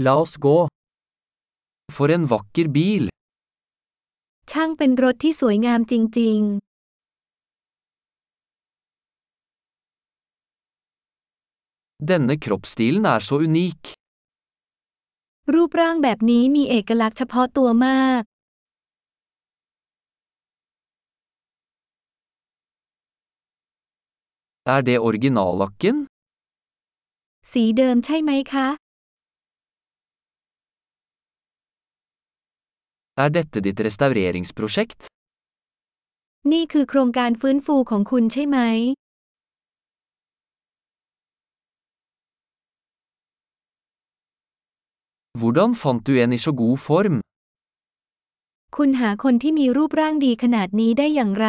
La oss gå. For en vakker bil. ช่างเป็นรถที่สวยงามจริง Denne kroppsstilen er så unik. ๆ รูปร่างแบบนี้มีเอกลักษณ์เฉพาะตัวมาก Er det originallakken? สีเดิมใช่ไหมคะ Er dette ditt restaureringsprosjekt? นี่คือโครงการฟื้นฟูของคุณใช่ไหม Hvordan fant du en i så god form? คุณหาคนที่มีรูปร่างดีขนาดนี้ได้อย่างไร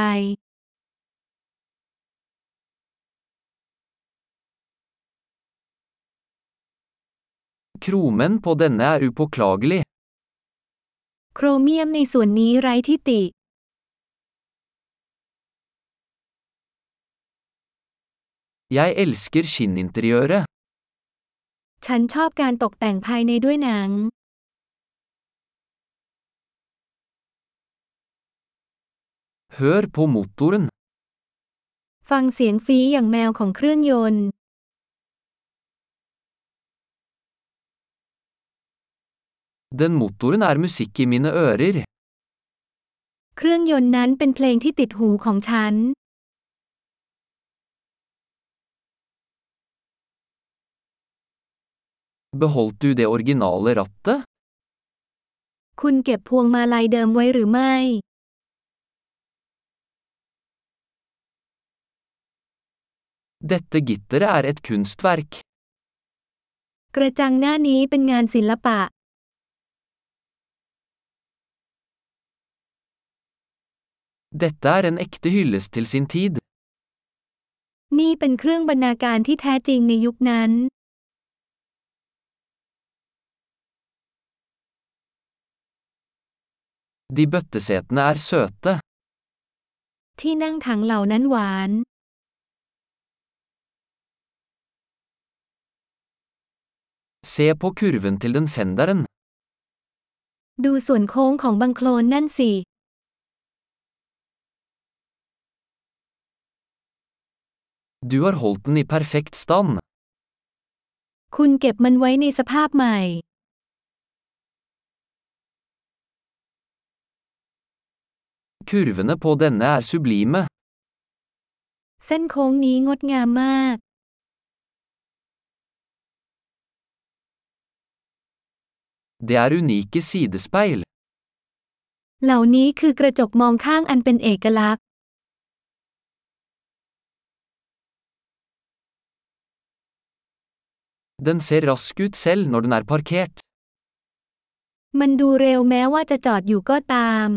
Kromen på denne er upåklagelig. โครเมียมในส่วนนี้ไร้ที่ติ Jeg elsker skinninteriøret. ฉันชอบการตกแต่งภายในด้วยหนัง Hør på motoren. ฟังเสียงฟีอย่างแมวของเครื่องยนต์ Den motoren er musikk i mine ører. เครื่องยนต์นั้นเป็นเพลงที่ติดหูของฉัน Beholdt du det originale rattet? คุณเก็บพวงมาลัยเดิมไว้หรือไม่ Dette gitteret er et kunstverk. กระจังหน้านี้เป็นงานศิลปะ Dette er en ekte hyllest til sin tid. นี่เป็นเครื่องบรรณาการที่แท้จริงในยุคนั้น De bøttesetene er søte. ที่นั่งถังเหล่านั้นหวาน Se på kurven til den fenderen. ดูส่วนโค้งของบังโคลนนั่นสิ Du har holdt den i perfekt stand. คุณเก็บมันไว้ในสภาพใหม่ Kurvene på denne er sublime. เส้นโค้งนี้งดงามมาก Det er unike sidespeil. เหล่านี้คือกระจกมองข้างอันเป็นเอกลักษณ์ Den ser rask ut selv når den er parkert. มันดูเร็วแม้ว่าจะจอดอยู่ก็ตาม